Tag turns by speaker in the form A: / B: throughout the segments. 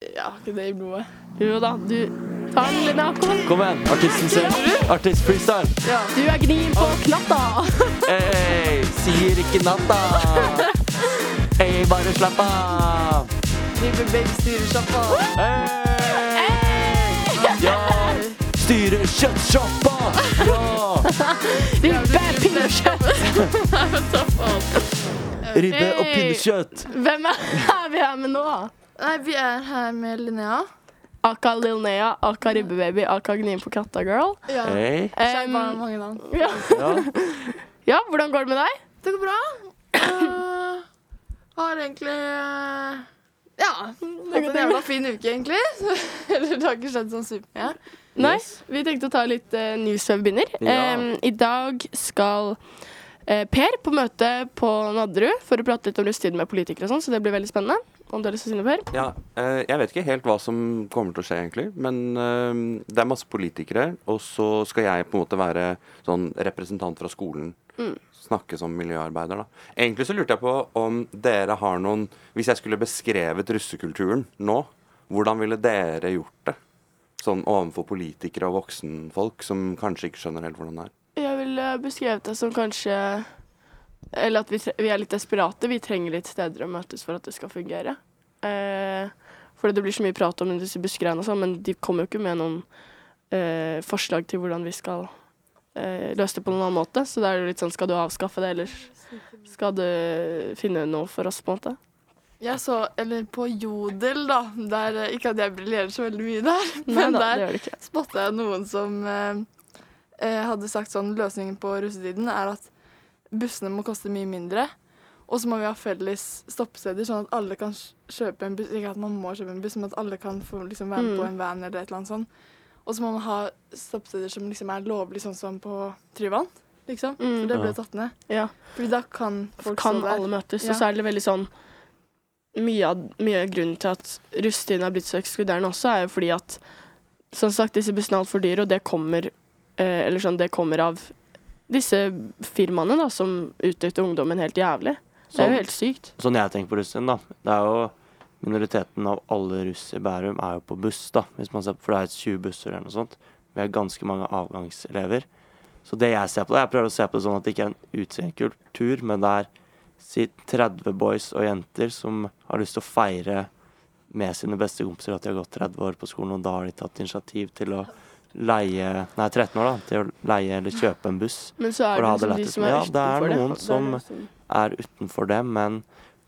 A: Jeg har ikke det i blodet. Jo da, du Ta den lille Håkon.
B: Kom igjen, artisten sin. Artist freestyle.
A: Du er gnien på knatta.
B: Hey, sier ikke natta. Hey, bare slapp av.
C: Driver begge styrer sjappa.
B: Hey. Ja, styrer kjøttsjappa. Ja,
A: Ribbe, pinnekjøtt.
B: ribbe og pinnekjøtt.
A: Hvem er vi her med nå?
C: Nei, vi er her med Linnea.
A: Aka Lil Nea, aka Ribbebaby, aka Gnien på katta girl.
C: Ja.
B: Hey.
C: Kjær
A: Em,
C: barn, mange navn.
A: ja.
B: Ja.
A: ja, hvordan går det med deg?
C: Det går bra. Eh, har egentlig eh, Ja, hatt en jævla fin uke, egentlig. Eller det har ikke skjedd sånn supermye.
A: Nei,
B: Yes.
A: vi tenkte å ta litt uh, newswebbinder.
B: Ja.
A: Em, I dag skal eh, Per på møte på Nadderud for å prate litt om rusttiden med politikere og sånn, så det blir veldig spennende. Om du har lyst til å si noe, Per?
B: Ja, eh, jeg vet ikke helt hva som kommer til å skje, egentlig. Men eh, det er masse politikere, og så skal jeg på en måte være sånn representant fra skolen. Snakke som miljøarbeider, da. Egentlig så lurte jeg på om dere har noen Hvis jeg skulle beskrevet russekulturen nå, hvordan ville dere gjort det? Sånn overfor politikere og voksenfolk som kanskje ikke skjønner helt hvordan det er.
A: Jeg ville beskrevet det som kanskje Eller at vi, tre- vi er litt desperate. Vi trenger litt steder å møtes for at det skal fungere. Eh, fordi det blir så mye prat om disse buskreiene og sånn, men de kommer jo ikke med noen eh, forslag til hvordan vi skal eh, løse det på noen annen måte. Så da er det jo litt sånn Skal du avskaffe det, eller skal du finne noe for oss, på en måte?
C: Jeg så, eller på Jodel, da. Der, eh, ikke at jeg briljerer så veldig mye der,
A: Nei
C: men
A: da, det
C: der
A: gjør det ikke.
C: spotta jeg noen som eh, eh, hadde sagt sånn løsningen på russetiden er at bussene må koste mye mindre. Og så må vi ha felles stoppesteder, sånn at alle kan kj- kjøpe en buss. Ikke at man må kjøpe en buss, men at alle kan få liksom, være med på
A: Mm.
C: en van eller et eller annet sånt. Og så må man ha stoppesteder som liksom er lovlig, sånn som på Tryvann. Liksom.
A: Mm.
C: For det ble
B: Ja.
C: tatt ned.
A: Ja.
C: Fordi da kan folk
A: kan
C: stå der.
A: alle møtes.
C: Ja.
A: Og så er det veldig sånn Mye av, mye av grunnen til at russetiden har blitt så ekskluderende også, er jo fordi at som sagt, disse bussene er altfor dyre, og det kommer eh, Eller sånn, det kommer av disse firmaene da, som utnytter ungdommen helt jævlig. Det er
D: Sånn.
A: jo helt sykt.
D: Sånn jeg tenker på russen, da. Det er jo Minoriteten av alle russ i Bærum er jo på buss, da. Hvis man ser på, for det er 20 busser eller noe sånt. Vi er ganske mange avgangselever. Så det jeg ser på Jeg prøver å se på det sånn at det ikke er en utseende kultur, men det er si 30 boys og jenter som har lyst til å feire med sine beste kompiser at de har gått 30 år på skolen, og da har de tatt initiativ til å leie Nei, 13 år, da. Til å leie eller kjøpe en buss.
A: Men så
D: For
A: er
D: da
A: det
D: hadde
A: liksom de
D: lettest
A: som er
D: med- ja, det er
A: utenfor
D: noen
A: det.
D: som-
A: Det er liksom-
D: er utenfor det, men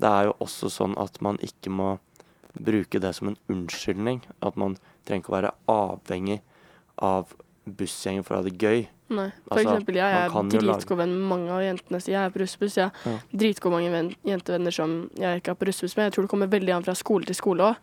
D: det er jo også sånn at man ikke må bruke det som en unnskyldning. At man trenger ikke å være avhengig av bussgjengen for å ha det gøy.
A: Nei. For
D: Altså,
A: eksempel, jeg
D: man
A: er
D: kan jo lage-
A: dritgod venn med mange av jentene. Så jeg er på russebuss. Jeg har
D: Ja.
A: dritgod mange venn, jentevenner som jeg ikke er på russebuss med. Jeg tror det kommer veldig an fra skole til skole òg.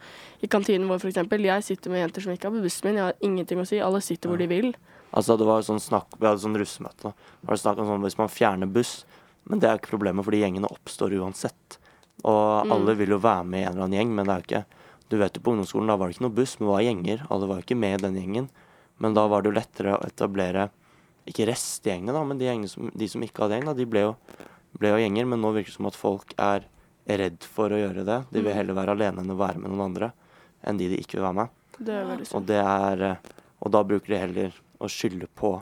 A: I kantinen vår, for eksempel. Jeg sitter med jenter som ikke er på bussen min. Jeg har ingenting å si. Alle sitter hvor de vil.
D: Altså det var jo sånn snakk, Vi hadde sånn russemøte. Da. Var det snakk om sånn, Hvis man fjerner buss Men det er ikke problemet, fordi gjengene oppstår uansett. Og alle vil jo være med i en eller annen gjeng, men det er jo ikke Du vet jo på ungdomsskolen, da var det ikke noe buss, men det var gjenger. Alle var jo ikke med i den gjengen. Men da var det jo lettere å etablere ikke restgjengene, da, men de, gjengene som, de som ikke hadde gjeng, da, de ble jo, ble jo gjenger. Men nå virker det som at folk er redd for å gjøre det. De vil heller være alene enn å være med noen andre enn de de ikke vil være med.
A: Det er veldig
D: Og
A: sånn.
D: det er eh, Og da bruker de heller å skylde på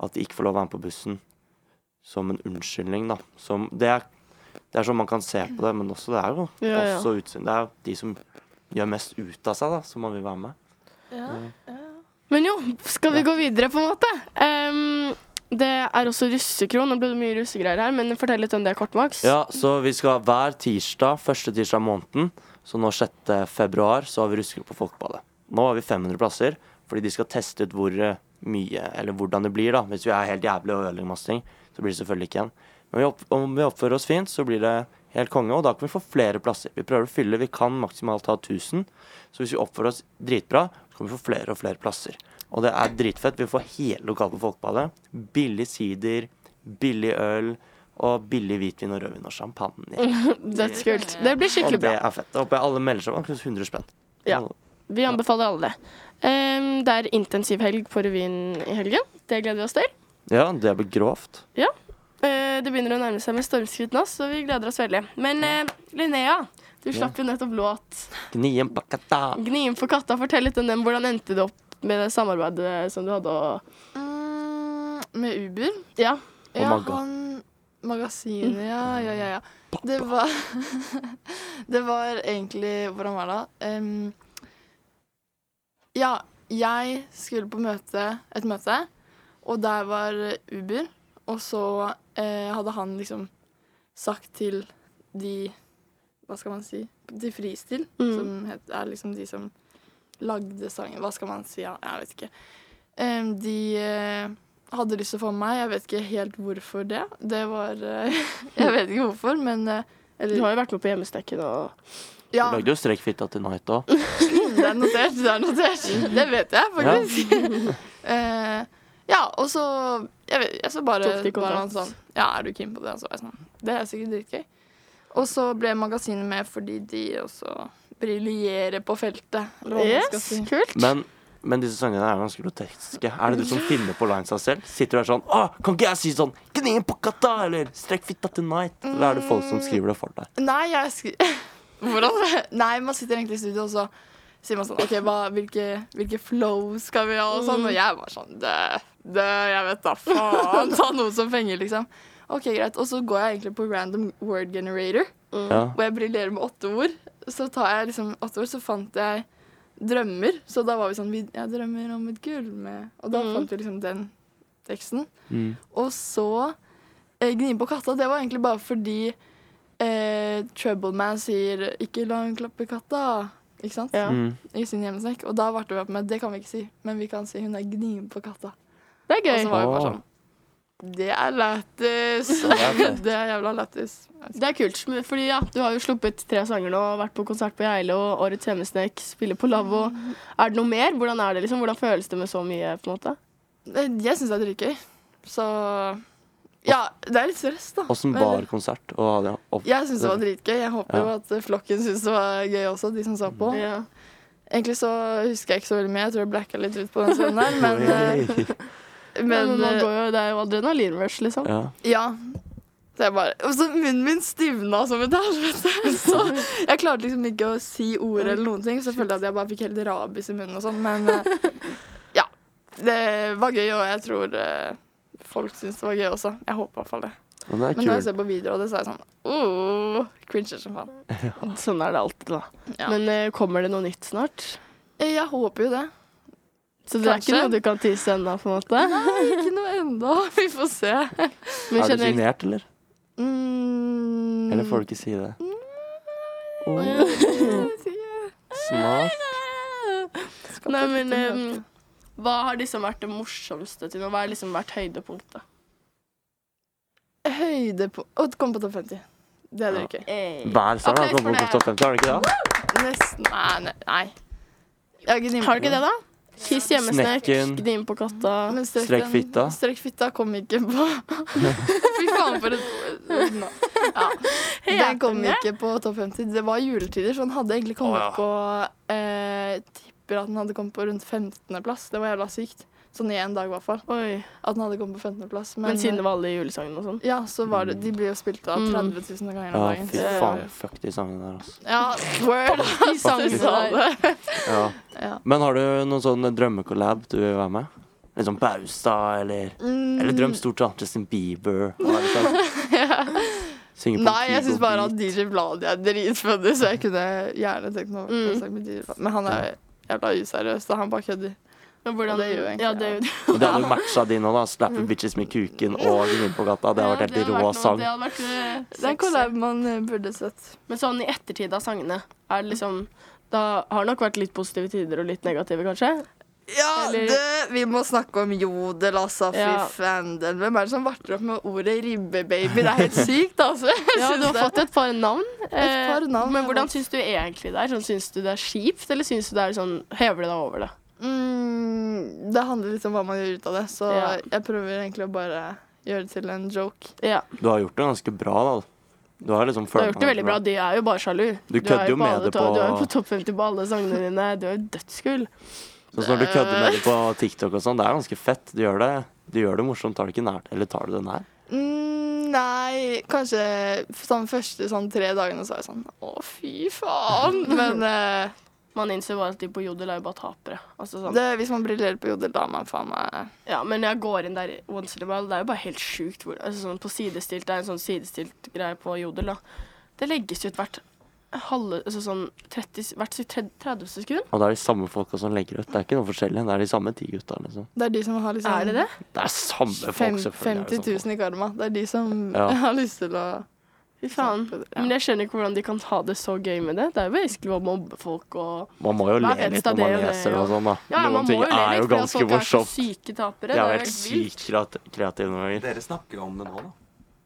D: at de ikke får lov å være med på bussen, som en unnskyldning, da. Som Det er, det er sånn man kan se på det, men også det er jo
A: Ja, ja.
D: også utsyn. Det er jo de som gjør mest ut av seg, da, som man vil være med.
C: Ja.
A: Men jo, skal vi gå videre, på en måte? Ehm, det er også russekron. Nå ble det mye russegreier her, men fortell litt om det kort, Max.
D: Ja, så vi skal hver tirsdag, første tirsdag i måneden, så nå 6. februar, så har vi rusket på Folkebadet. Nå har vi 500 plasser, fordi de skal teste ut hvor eh, mye, eller hvordan det blir, da. Hvis vi er helt jævlig og ødelegger masse ting, så blir det selvfølgelig ikke igjen. Men vi opp, om vi oppfører oss fint, så blir det helt konge, og da kan vi få flere plasser. Vi prøver å fylle, vi kan maksimalt ha 1000, så hvis vi oppfører oss dritbra, så kan vi få flere og flere plasser. Og det er dritfett. Vi får hele lokalet på Folkebadet. Billig sider, billig øl, og billig hvitvin og rødvin og champagne.
A: That's kult. Det blir
D: Og
A: Mm, skikkelig
D: det
A: bra.
D: er fett. Da håper jeg alle melder seg på. Kanskje 100 spenn.
A: Ja. Vi anbefaler alle det. Ehm, det er intensiv helg på revyen i helgen. Det gleder vi oss til.
D: ja, det blir grovt.
A: Eh, Det begynner å nærme seg med stormskritt nå, så vi gleder oss veldig. Men eh, Linnea, Du slapp jo nettopp låt.
D: Gnien bakata.
A: Gni inn for katta. Fortell litt om den. Hvordan endte du opp med det samarbeidet eh, som du hadde? Og
C: Mm, med Uber.
A: ja,
D: Og Magga.
C: han Magasinet, ja, ja, ja. ja. Det var Det var egentlig Hvordan var det? da? Em, ja, jeg skulle på møte, et møte, og der var Uber. Og så eh, hadde han liksom sagt til de Hva skal man si? De Fristil,
A: Mm.
C: som het, er liksom de som lagde sangen. Hva skal man si? Ja, jeg vet ikke. Em, de eh, hadde lyst til å få med meg. Jeg vet ikke helt hvorfor det. Det var eh, Jeg vet ikke hvorfor, men eh,
A: du
C: Eller
A: har jo vært med på Hjemmestekken og
C: Ja,
D: Du lagde jo strekkfitta til Night òg.
C: det er notert. Det er notert. Det vet jeg faktisk. Eh, ja, og så Jeg, vet, jeg så bare,
A: Tok de kontakt?
C: bare han sånn Ja, er du keen på det? Og så var jeg sånn Det er sikkert dritgøy. Og så ble magasinet med fordi de også briljerer på feltet. Eller hva man skal
A: Yes,
C: si.
A: kult.
D: Men, men disse sangene er ganske groteske. Er det du som finner på linesa selv? Sitter du der sånn Å, kan ikke jeg si sånn Gnien bakata! Eller strekk fitta til Night? Eller er det folk
A: Mm.
D: som skriver det for deg?
C: Nei, jeg skri... Hvordan? Nei, man sitter egentlig i studio, og så sier man sånn OK, hva, hvilke, hvilke flow skal vi ha, og sånn. Og jeg var sånn Dø, dø, jeg vet da faen. Ta noe som penger, liksom. OK, greit. Og så går jeg egentlig på random word generator,
D: Ja.
C: og jeg briljerer med åtte ord. Så tar jeg liksom åtte ord, så fant jeg drømmer. Så da var vi sånn vi, Jeg drømmer om et gull med Og da
A: Mm.
C: fant vi liksom den teksten.
D: Mm.
C: Og så eh, Gni på katta, det var egentlig bare fordi eh, Troubleman sier 'ikke la hun klappe katta' ikke sant?
A: Ja.
D: Mm.
C: i sin hjemmesnekk. Og da varte vi opp med 'det kan vi ikke si, men vi kan si 'hun er gnien på katta'.
A: Det er
C: Og så
A: gøy.
C: var vi bare
D: Åh.
C: sånn Det er lættis!
D: er fett.
C: det er jævla lættis.
A: Det er kult. men- Fordi ja, Du har jo sluppet tre sanger nå, vært på konsert på Geilo, Årets Hjemmesnek, spiller på Lavvo. Er det noe mer? Hvordan er det liksom? Hvordan føles det med så mye? på en måte?
C: Eh, Jeg syns det er dritgøy. Så Ja, det er litt stress, da.
D: Åssen
C: Men-
D: var konsert? Og hadde jeg opp...
C: Jeg syns det var dritgøy. Jeg håper jo
D: Ja.
C: at flokken syntes det var gøy også, de som så på.
A: Ja.
C: Egentlig så husker jeg ikke så veldig mye. Jeg tror jeg blacka litt ut på den scenen der. Men, eh,
A: Men,
C: men,
A: man
C: eh,
A: går jo, det er jo adrenalinrush, liksom.
D: ja.
C: ja. Det er bare, og så munnen min stivna som et helvete. Så jeg klarte liksom ikke å si ord eller noen ting. Så jeg følte at jeg bare fikk helt rabies i munnen og sånn. Men eh, ja. Det var gøy, og jeg tror eh, folk syntes det var gøy også. Jeg håper i hvert fall det.
D: Men det er
C: Men når jeg
D: kult.
C: ser på videoer, og det, så er jeg sånn oh, Cringer som faen.
A: Sånn er det alltid, da.
C: Ja.
A: Men eh, kommer det noe nytt snart?
C: Eh, Jeg håper jo det.
A: Så det er ikke
C: Kanskje.
A: noe du kan tisse ennå, på en måte?
C: Nei, ikke noe ennå. Vi får se.
A: Men
D: Er du
A: generelt
D: signert, eller?
C: Mm.
D: Eller får du ikke si det? Åh, Snart.
C: Skal
A: Nei,
C: på
A: men
C: et møte.
A: ehm, hva har liksom vært det morsomste til nå? Hva har liksom vært høydepunktet?
C: Høyde på Å, kom på topp 50. Det er det ikke.
A: Eh,
D: Hver sang sånn har
A: Applaus for
D: kommet på
A: det.
D: topp 50, har den ikke det?
C: Nesten. Nei, nei. nei. Jeg har ikke nimt
A: Har du ikke det, da? Kiss hjemmesnekk,
D: Snekken.
A: gnim på katta.
C: Men
D: Strekk
C: den-
D: fitta.
C: Strekk fitta kom ikke på. Fy faen, for et ord. Nå. Ja. Den kom
A: Heter
C: ikke på topp 50. Det var juletider, så den hadde egentlig kommet på eh, Tipper at den hadde kommet på rundt 15.-plass. Det var jævla sykt. Sånn i en dag, i hvert fall.
A: Oi.
C: At den hadde kommet på 15.-plass.
A: Men siden det var alle julesangene og sånn.
C: Ja, så var det De blir jo spilt av
A: Mm.
C: 30 000 ganger
D: Ja,
C: om dagen.
D: fy
C: så-
D: faen. Fuck de sangene der, altså.
C: Ja, word.
A: De sangene der.
D: Ja.
C: Ja.
D: Men har du noen sånn drømmekollab du vil være med? Litt sånn Baustad, eller Eller
A: Mm.
D: drøm stort, da. Justin Bieber. og hva er det sånn? Synge på
C: Nei, jeg
D: keyboard
C: syns bare at
D: beat.
C: DJ Vladi er dritfunny, så jeg kunne gjerne tenkt meg å være på
A: Mm.
C: sang med DJ Vladi. Men han er jævla useriøs, da. Han bare kødder.
A: Men hvordan,
C: Det gjør jo egentlig
A: ja, det, gjør-
D: Og det hadde jo matcha de nå, da. Slappe bitches med kuken og gnir på gata.
A: Mm.
D: Det hadde
A: Ja,
D: vært helt
A: hadde
D: rå
A: noe-
D: sang.
A: Det hadde vært eh,
C: Det er
A: sexy.
C: en collab man eh, burde sett.
A: Men sånn i ettertid av sangene, er det liksom Da har det nok vært litt positive tider og litt negative, kanskje?
C: Ja,
A: Eller-
C: det, vi må snakke om jodel, altså. Fy
A: Ja.
C: fanden. Hvem er det som varter opp med ordet ribbebaby? Det er helt sykt, altså. Jeg
A: Ja, du har
C: synes det.
A: fått et par navn. Eh,
C: Et par navn,
A: men
C: ja.
A: hvordan syns du egentlig det er? Sånn, syns du det er kjipt, eller syns du det er sånn Hever det deg over det?
C: Mm, det handler litt om hva man gjør ut av det, så
A: Ja.
C: jeg prøver egentlig å bare gjøre det til en joke.
A: Ja,
D: Du har gjort det ganske bra, da. Du har liksom
A: Du har
D: følt
A: gjort det veldig bra. De er jo bare sjalu.
D: Du
A: er
D: kødder jo med
A: alle
D: det
A: to-
D: på-
A: Du er jo på topp 50 på alle sangene dine. Du er jo dødskull.
D: Sånn som når
A: Eh.
D: du kødder med det på TikTok og sånn. Det er ganske fett. Du gjør det, du gjør det morsomt. Tar det ikke nært. Eller tar du det nær?
C: Mm, Nei, kanskje de første sånn, tre dagene så var jeg sånn Å, fy faen. Men eh,
A: Man innser bare at de på Jodel er jo bare tapere. Altså, sånn.
C: det, hvis man briljerer på jodel, da er man faen meg
A: Ja, men jeg går inn der once in a while. Det er jo bare helt sjukt. hvor- Altså, sånn på sidestilt, det er en sånn sidestilt greie på Jodel, da. Det legges ut hvert halve Altså sånn 30, hvert sitt tred- 30 sekund.
D: Og det er de samme folka som legger ut. Det er ikke noe forskjellig. Det er de samme ti gutta. liksom.
C: Det er de som har liksom
A: Er det det?
D: Det er samme
C: fem,
D: folk, selvfølgelig.
C: 50 000 i karma. Det er de som
D: Ja.
C: har lyst til å
A: Fy faen.
C: Ja.
A: Men jeg skjønner ikke hvordan de kan ha det så gøy med det. Det er jo basically å mobbe folk og
D: Man må jo le
A: Hver eneste
D: litt når man
A: del, det,
D: leser
A: ja.
D: og sånn, da.
A: Ja, man
D: Noen
A: må jo
D: ting
A: le
D: er
A: litt, fordi
D: jo
A: at
D: ganske
A: folk er så
D: morsomt.
A: syke tapere.
D: De
A: Det
D: er jo
A: er jo
D: helt
A: vilt.
D: sykt kreat- kreative noen ganger.
B: Dere snakker jo om det nå, da.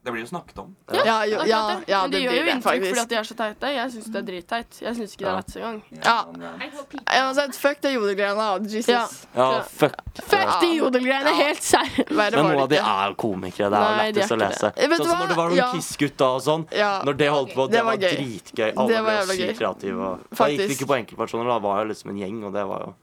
B: Det blir jo snakket om.
C: Ja, jo,
A: Akkurat
C: ja,
A: det.
C: ja,
A: Men
C: det
A: det gjør
C: blir
A: jo
C: det,
A: inntrykk fordi
C: faktisk.
A: at de er så teite. Jeg syns det er dritteit. Jeg syns ikke det
D: Ja.
A: er lett engang.
C: Ja. Ja, Uansett, fuck det jodelgreiene. da. Jesus.
A: Ja.
D: Ja, fuck.
A: Fuck de jodelgreiene, helt seriøst.
C: Verre
D: Men
C: var
D: noen av de
C: ikke.
D: er jo komikere. Det er jo
A: Nei, de er
D: lettest
A: ikke
D: å
A: det.
D: lese.
C: Eh, vet du
D: Sånn som
C: hva?
D: når det var noen
C: Ja.
D: Kiss-gutta og sånn.
C: Ja.
D: Når det holdt på, det,
C: Det var
D: var,
C: gøy.
D: dritgøy.
C: Det var
D: Alle ble jo
C: jævla gøy.
D: sykt kreative. Og da gikk det
C: Faktisk.
D: ikke på enkeltpersoner, da var jo liksom en gjeng, og det var jo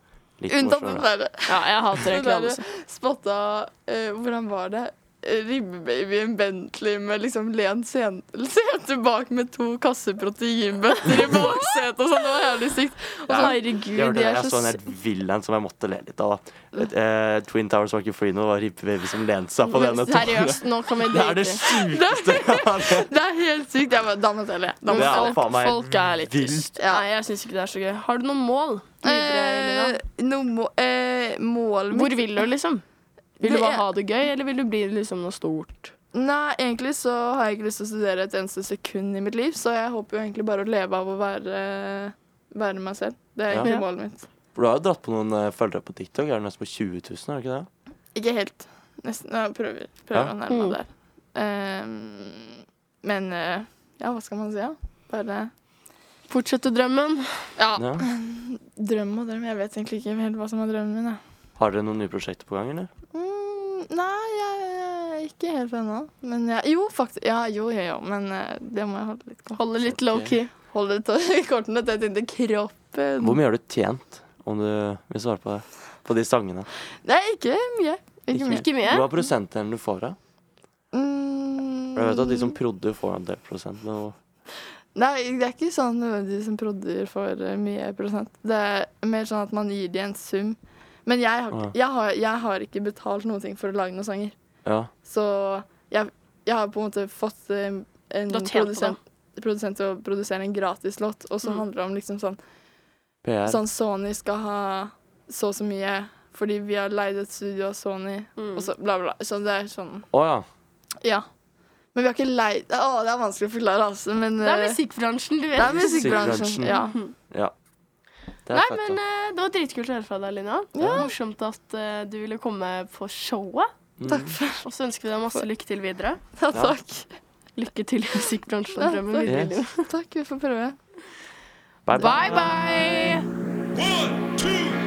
D: litt
C: Unntatt den
D: morsommere.
C: derre
A: Ja, jeg hater
C: Den
A: reklame.
C: derre
A: så.
C: spotta eh, Hvordan var det? Eh, Ribbebabyen Bentley med liksom lent sen- sete bak med to kasser proteinbøtter i baksetet og sånn. Det var jævlig sykt. Og så,
D: Ja. Jeg,
C: herregud, de
D: hørte det,
C: er
D: jeg så
C: så
D: en
C: sy-
D: helt vill en som jeg måtte le litt av. da. Et, eh, Twin Towers var ikke free nå, det var Rippe Baby som lente seg på denne.
A: Seriøst, nå kan vi
D: Det er det
A: drite.
D: sjukeste jeg har sett.
C: Det er helt sykt. Jeg bare, da måtte jeg le. Da
D: Det
C: måtte
D: er
C: jeg le.
D: jo faen meg
A: Folk er litt
D: vilt.
A: tyst. Nei, jeg syns ikke det er så gøy. Har du noen mål? Videre, Elina?
C: Eh, noe må, eh, målet mitt
A: Hvor vil du, liksom? Vil du
C: Det
A: bare
C: er-
A: ha det gøy, eller vil du bli liksom noe stort?
C: Nei, egentlig så har jeg ikke lyst til å studere et eneste sekund i mitt liv, så jeg håper jo egentlig bare å leve av å være, være meg selv. Det er
D: Ja.
A: Ja.
C: egentlig målet mitt.
D: For du har jo dratt på noen eh, følgere på TikTok. Er det nesten på 20 000, er det ikke det?
C: Ikke helt. Nesten. Jeg prøver, prøver
D: Ja.
C: å nærme
A: Mm.
C: meg der. Ehm, men eh, ja, hva skal man si, da? Bare
A: Fortsette drømmen.
C: Ja,
D: Ja.
C: drøm og drøm. Jeg vet egentlig ikke helt hva som er drømmen min, jeg.
D: Har dere noen nye prosjekter på gang, eller?
C: Mm, nei, jeg, jeg er ikke helt ennå. Men jeg, jo, faktisk. Ja, jo, jo, jo. Men eh, det må jeg holde litt kort.
A: Holde litt low-key.
C: Holde t- kortene tett inntil kroppen.
D: Hvor mye har du tjent, om du vil svare på det? På de sangene.
C: Nei, ikke mye. Ikke mye.
A: Ikke mye.
D: Hva er prosentdelen du får av?
C: Mm,
D: For Jeg vet at de som prodder, får en del prosent. Men hvor-
C: Nei, det er ikke sånn nødvendigvis som prodder for eh, mye prosent. Det er mer sånn at man gir de en sum. Men jeg har, ikke- jeg har, jeg har ikke betalt noen ting for å lage noen sanger.
D: ja.
C: Så jeg, jeg har på en måte fått eh, en
A: Du har tjent på
C: produsent, produsent til å produsere en gratis låt, og så
A: Mm.
C: handler det om liksom sånn
D: PR.
C: Sånn Sony skal ha så og så mye fordi vi har leid et studio av Sony,
A: Mm.
C: og så bla, bla. Så det er sånn
D: Å ja.
C: Ja. Men vi har ikke leid Å, det er vanskelig å forklare, altså. Men
A: Det er
C: eh,
A: musikkbransjen, du
C: det er
A: vet.
C: musikkbransjen.
D: Musikkbransjen.
C: Ja.
D: ja. Det er
A: Nei,
D: fett,
A: men
D: da.
A: eh, Det var dritkult å høre fra deg, Lina. Det var Morsomt at eh, du ville komme på showet.
C: Takk for
A: Og så ønsker vi deg masse lykke til videre.
C: ja, Takk.
A: Lykke til i musikkbransjen og drømmen videre.
D: Yes.
A: Lina.
C: Takk, vi får prøve.
D: Bye,
A: Bye,
D: bye.
A: bye!
E: One, two,